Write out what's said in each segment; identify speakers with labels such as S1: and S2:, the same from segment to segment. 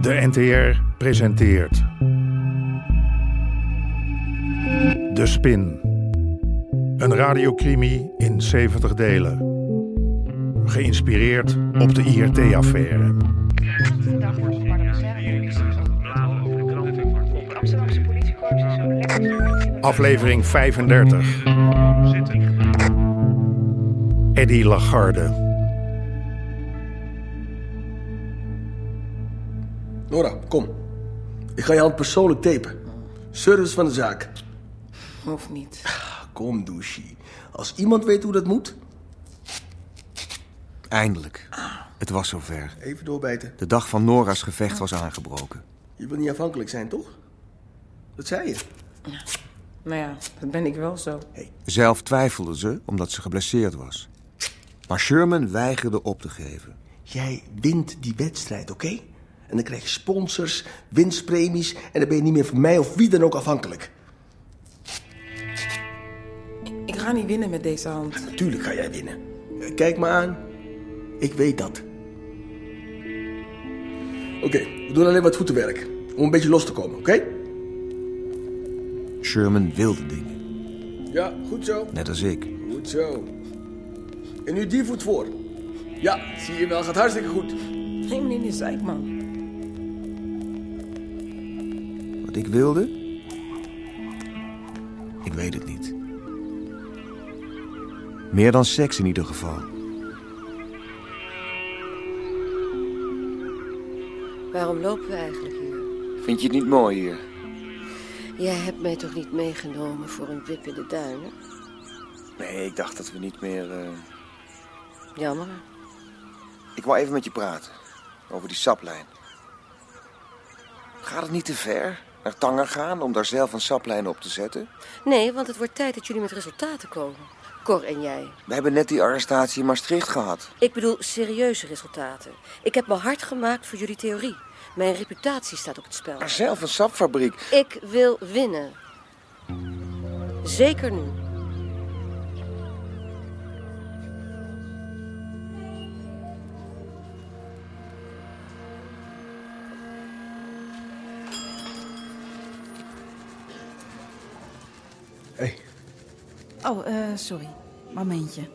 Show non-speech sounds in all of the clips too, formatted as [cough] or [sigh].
S1: De NTR presenteert. De Spin. Een radiocrimi in 70 delen. Geïnspireerd op de IRT-affaire.
S2: Dag wordt op De Amsterdamse politiekorps is zo lekker.
S1: Aflevering 35. Eddie Lagarde.
S3: Nora, kom. Ik ga je hand persoonlijk tapen. Service van de zaak.
S4: Hoeft niet.
S3: Kom, douchie. Als iemand weet hoe dat moet...
S5: Eindelijk. Het was zover.
S3: Even doorbijten.
S5: De dag van Nora's gevecht was aangebroken.
S3: Je wil niet afhankelijk zijn, toch? Dat zei je.
S4: Nou ja, dat ben ik wel zo.
S5: Zelf twijfelde ze omdat ze geblesseerd was. Maar Sherman weigerde op te geven.
S3: Jij wint die wedstrijd, oké? En dan krijg je sponsors, winstpremies... en dan ben je niet meer van mij of wie dan ook afhankelijk.
S4: Ik ga niet winnen met deze hand.
S3: Natuurlijk ga jij winnen. Eh, Kijk me aan. Ik weet dat. Oké, we doen alleen wat voetenwerk. Om een beetje los te komen, oké?
S5: Sherman wilde dingen,
S3: Ja, goed zo.
S5: net als ik.
S3: Goed zo. En nu die voet voor. Ja, zie je wel, gaat hartstikke goed.
S4: Neem me in de zeik, man.
S5: Wat ik wilde? Ik weet het niet. Meer dan seks in ieder geval.
S6: Waarom lopen we eigenlijk hier?
S5: Vind je het niet mooi hier?
S6: Jij hebt mij toch niet meegenomen voor een wip in de duinen?
S5: Nee, ik dacht dat we niet meer... eh,
S6: Jammer.
S5: Ik wou even met je praten. Over die saplijn. Gaat het niet te ver? Naar Tanger gaan om daar zelf een saplijn op te zetten?
S6: Nee, want het wordt tijd dat jullie met resultaten komen. Cor en jij.
S5: We hebben net die arrestatie in Maastricht gehad.
S6: Ik bedoel serieuze resultaten. Ik heb me hard gemaakt voor jullie theorie. Mijn reputatie staat op het spel.
S5: Maar zelf een sapfabriek.
S6: Ik wil winnen. Zeker nu.
S3: Hé, hey,
S7: Oh, eh, sorry. Momentje.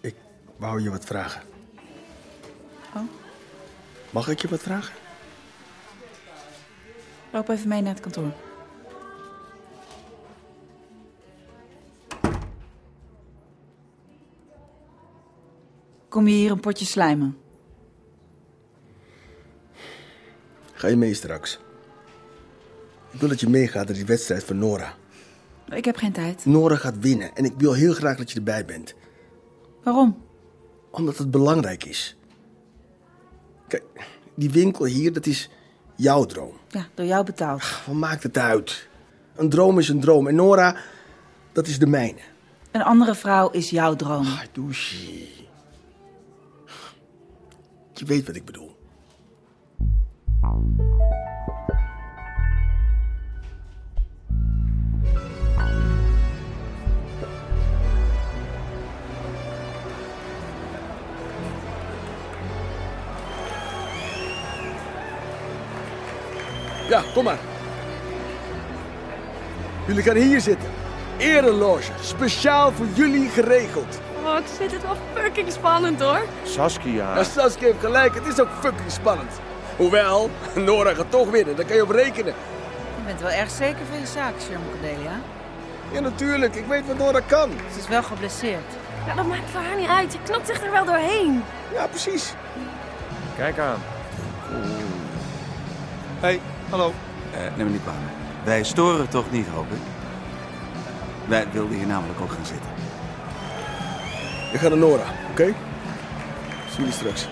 S3: ik wou je wat vragen.
S7: Oh.
S3: Mag ik je wat vragen?
S7: Loop even mee naar het kantoor. Kom je hier een potje slijmen?
S3: Ga je mee straks? Ik wil dat je meegaat naar die wedstrijd van Nora.
S7: Ik heb geen tijd.
S3: Nora gaat winnen en ik wil heel graag dat je erbij bent.
S7: Waarom?
S3: Omdat het belangrijk is. Kijk, die winkel hier, dat is jouw droom.
S7: Ja, door jou betaald.
S3: Wat maakt het uit? Een droom is een droom en Nora, dat is de mijne.
S7: Een andere vrouw is jouw droom.
S3: Ah, douchie. Je weet wat ik bedoel. Ja, kom maar. Jullie gaan hier zitten. Ereloge, speciaal voor jullie geregeld.
S8: Oh, ik vind het wel fucking spannend hoor.
S3: Ja,
S5: Saskia.
S3: Saskia Nou, heeft gelijk, het is ook fucking spannend. Hoewel, [laughs] Nora gaat toch winnen, daar kan je op rekenen.
S7: Je bent wel erg zeker van je zaak, Sherman Cordelia.
S3: Ja, natuurlijk, ik weet wat Nora kan.
S7: Ze is wel geblesseerd.
S8: Ja, dat maakt voor haar niet uit. Je knapt zich er wel doorheen.
S3: Ja, precies.
S5: Kijk aan.
S9: Hey, hallo. neem me Eh, niet kwalijk. Wij storen toch niet, hoop ik? Wij wilden hier namelijk ook gaan zitten.
S3: We gaan naar Nora, oké? Zie jullie straks.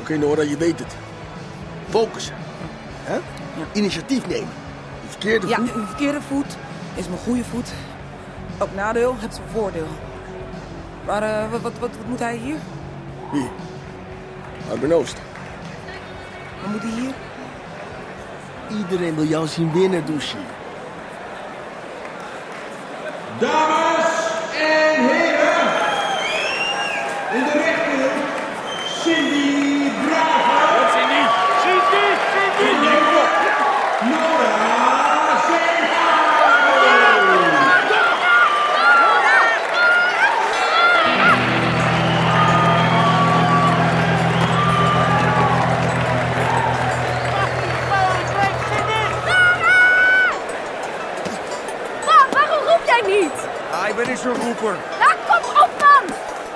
S3: Oké, Nora, je weet het. Focussen. Hè? Initiatief nemen. De verkeerde
S4: Ja,
S3: voet.
S4: uw verkeerde voet is mijn goede voet. Ook nadeel heeft zijn voordeel. Maar eh, wat, wat, wat, wat moet hij hier?
S3: Hier. Arben Oost.
S4: Wat moet hij hier?
S3: Iedereen wil jou zien winnen, douche.
S10: Dames en heren, Ah,
S11: ben ik zo'n roeper.
S8: Nou, kom op man!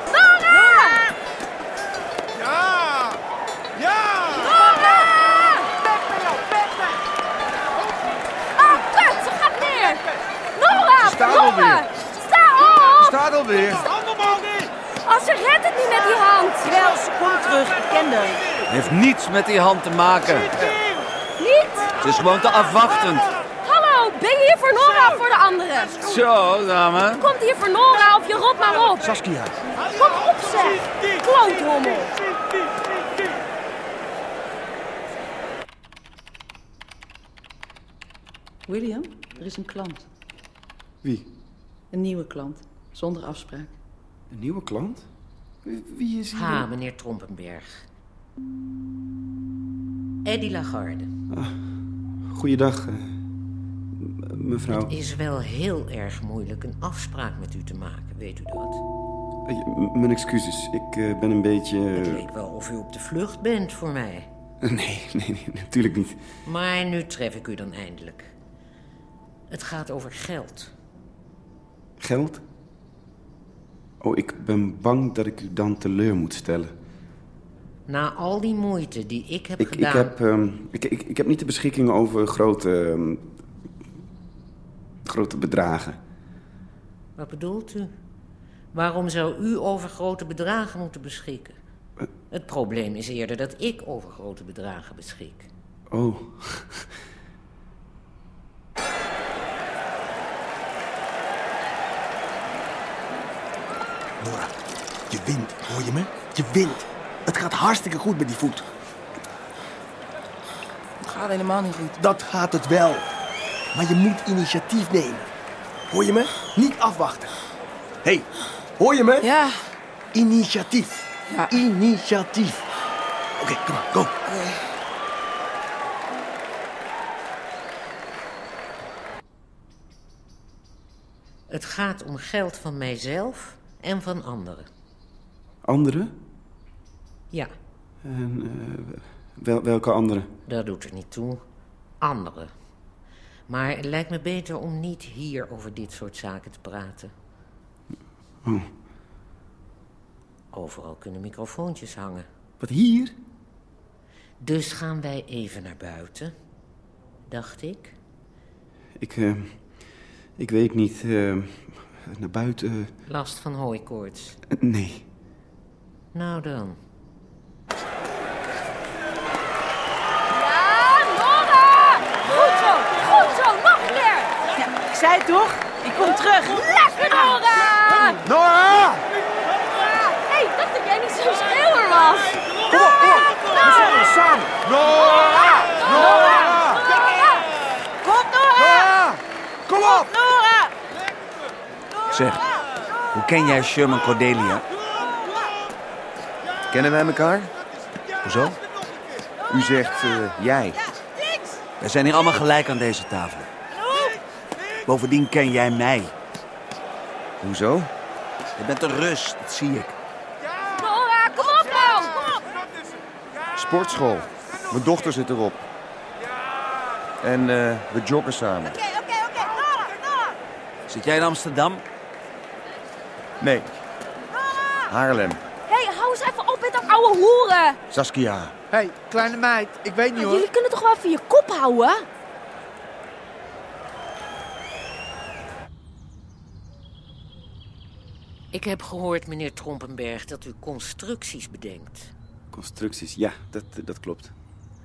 S8: Nora!
S11: Ja! Ja!
S8: Oh, kut, ze gaat neer! Nora,
S10: Sta
S8: verdomme!
S10: alweer.
S8: Sta op!
S10: Staat alweer.
S8: Als ze redt het niet met die hand!
S6: Wel, ze komt terug. Ik ken haar.
S10: Heeft niets met die hand te maken.
S8: Niet!
S10: Ze is gewoon te afwachtend.
S8: Hallo, ben je hier voor Nora of voor de anderen?
S10: Zo, dame.
S8: Komt hier voor Nora of je rot maar op!
S5: Saskia.
S8: Kom op zeg! Kloothommel!
S6: William, er is een klant.
S10: Wie?
S6: Een nieuwe klant. Zonder afspraak.
S10: Een nieuwe klant? Wie is
S6: Ha, meneer Trompenberg. Eddie Lagarde.
S10: Goeiedag, eh, mevrouw.
S6: Is wel heel erg moeilijk een afspraak met u te maken, weet u dat?
S10: Eh, Mijn excuses. Ik eh, ben een beetje...
S6: Het leek wel of u op de vlucht bent voor mij.
S10: [laughs] Nee, nee, nee, natuurlijk niet.
S6: Maar nu tref ik u dan eindelijk. Het gaat over geld.
S10: Geld? Oh, ik ben bang dat ik u dan teleur moet stellen.
S6: Na al die moeite die ik heb
S10: Ik, ik,
S6: gedaan...
S10: heb, ehm, ik, ik, ik heb niet de beschikking over grote, ehm, grote bedragen.
S6: Wat bedoelt u? Waarom zou u over grote bedragen moeten beschikken? Het probleem is eerder dat ik over grote bedragen beschik.
S10: Oh.
S3: Nora, je wint, hoor je me? Je wint. Het gaat hartstikke goed met die voet.
S4: Het gaat helemaal niet goed.
S3: Dat gaat het wel. Maar je moet initiatief nemen. Hoor je me? Niet afwachten. Hé, hey, hoor je me?
S4: Ja,
S3: Initiatief.
S4: Ja.
S3: Initiatief. Oké, kom maar, go.
S6: Het gaat om geld van mijzelf en van anderen.
S10: Anderen?
S6: Ja,
S10: Wel, welke anderen?
S6: dat doet er niet toe. Anderen. Maar het lijkt me beter om niet hier over dit soort zaken te praten. Overal kunnen microfoontjes hangen.
S10: Wat hier?
S6: Dus gaan wij even naar buiten, dacht ik.
S10: Ik, ehm, ik weet niet. ehm, naar buiten. eh,
S6: Last van hooikoorts.
S10: nee.
S6: Nou dan.
S8: Ja, Nora! Goed zo, goed zo, nog een keer!
S6: Ik zei toch? Ik kom terug.
S8: Lekker, Nora!
S3: Nora!
S8: Hé, hey, dacht dat jij niet zo'n schreeuwer was!
S3: Kom op, kom op. We zijn er samen. Nora! Nora!
S6: Kom door!
S3: Nora! Kom op!
S6: Nora!
S10: Zeg, hoe ken jij Sherman Cordelia?
S5: Kennen wij elkaar? Hoezo? U zegt eh, jij.
S10: We zijn hier allemaal gelijk aan deze tafel. Bovendien ken jij mij.
S5: Hoezo?
S10: Je bent een rust, dat zie ik.
S8: Nora, kom op nou!
S5: Sportschool. Mijn dochter zit erop. En eh, we joggen samen.
S10: Zit jij in Amsterdam?
S5: Nee. Haarlem.
S8: Hé, hey, hou eens even op met dat ouwe hoeren!
S5: Saskia.
S8: Maar jullie kunnen toch wel even je kop houden?
S6: Ik heb gehoord, meneer Trompenberg, dat u constructies bedenkt.
S10: Constructies, ja, dat, dat klopt.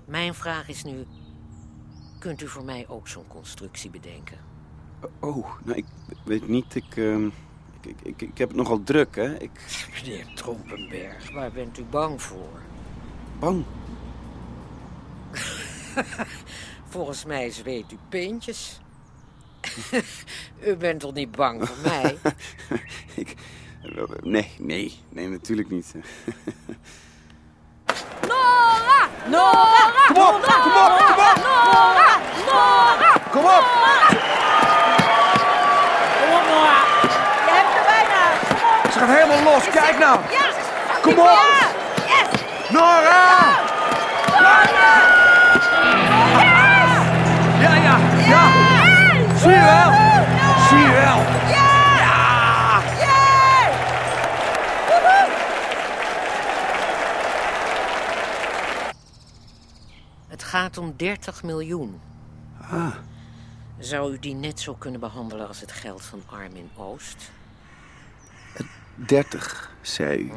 S6: Mijn vraag is nu: kunt u voor mij ook zo'n constructie bedenken?
S10: Oh, nou, ik weet niet. Ik, ehm, ik, ik, ik, ik heb het nogal druk, hè. Ik
S6: Meneer Trompenberg, waar bent u bang voor?
S10: bang. [laughs]
S6: Volgens mij zweet u peentjes. [laughs] u bent toch niet bang voor [laughs] mij?
S10: ik, nee, nee, nee, natuurlijk niet.
S8: Nora! Nora! Kom op, kom op, kom op! Nora! Nora!
S5: Kom op!
S8: Je hebt er bijna!
S5: Ze gaat helemaal los. Kijk nou.
S8: Ja!
S5: Kom op!
S8: Ja! Yes!
S5: Nora! Ja, ja, ja. Zie je wel? Zie je wel?
S8: Ja!
S6: gaat om 30 miljoen. Ah. Zou u die net zo kunnen behandelen als het geld van Armin Oost?
S10: 30, zei u.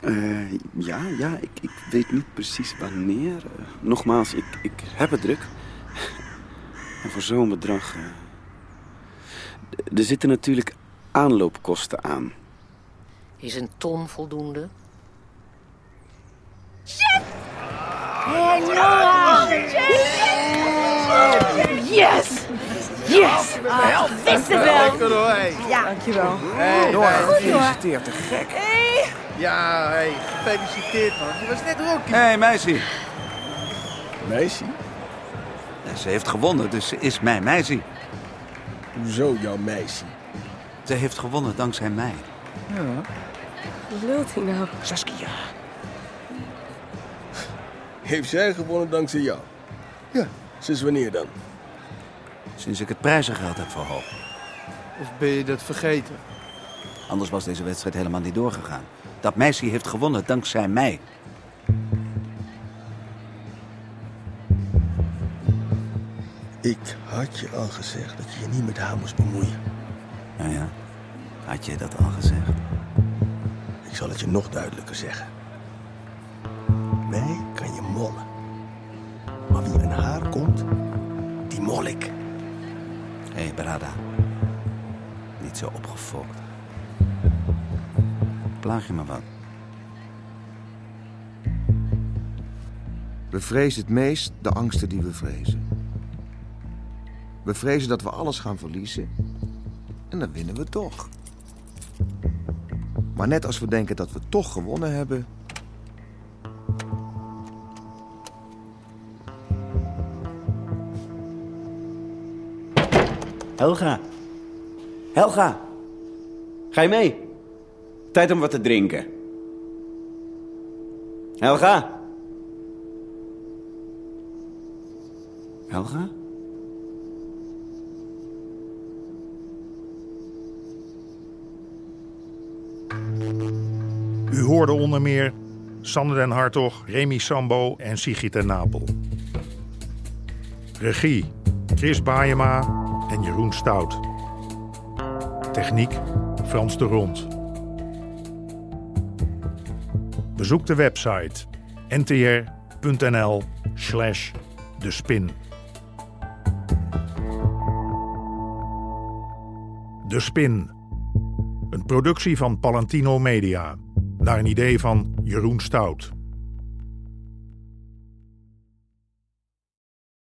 S10: Eh, ja, ja, ik, ik weet niet precies wanneer. Eh, nogmaals, ik, ik heb het druk. [laughs] En voor zo'n bedrag. eh, d- er zitten natuurlijk aanloopkosten aan.
S6: Is een ton voldoende?
S5: Hey, Noah! Yes! Yes! Ah, ik wist het wel!
S12: Lekker hoor, hé.
S5: Ja.
S12: Dankjewel.
S5: Noah, gefeliciteerd,
S13: te gek.
S5: Hey!
S12: Ja, hé, gefeliciteerd man. Je was net
S14: Hé,
S12: rookie.
S14: hey, meisje.
S3: Meisje?
S14: ze heeft gewonnen, dus ze is mijn meisje.
S3: Hoezo jouw meisje?
S14: Ze heeft gewonnen dankzij mij.
S3: Ja.
S4: Wat lult hij nou?
S3: Saskia. Heeft zij gewonnen dankzij jou? Ja. Sinds wanneer dan?
S14: Sinds ik het prijzengeld heb verhoogd.
S12: Of ben je dat vergeten?
S14: Anders was deze wedstrijd helemaal niet doorgegaan. Dat meisje heeft gewonnen dankzij mij.
S3: Ik had je al gezegd dat je je niet met haar moest bemoeien.
S14: Nou ja, had je dat al gezegd?
S3: Ik zal het je nog duidelijker zeggen. Mij kan je mollen. Maar wie aan haar komt, die mol ik.
S14: Hé, hey, Brada. Niet zo opgefokt. Plaag je me wat?
S13: We vrezen het meest de angsten die we vrezen. We vrezen dat we alles gaan verliezen en dan winnen we toch. Maar net als we denken dat we toch gewonnen hebben,
S15: Helga. Helga. Ga je mee? Tijd om wat te drinken. Helga. Helga?
S1: U hoorde onder meer Sander den Hartog, Remy Sambo en Sigrid en Napel. Regie Chris Baayema en Jeroen Stout. Techniek Frans de Rond. Bezoek de website ntr.nl slash de spin. De Spin. Een productie van Palantino Media. Naar een idee van Jeroen Stout.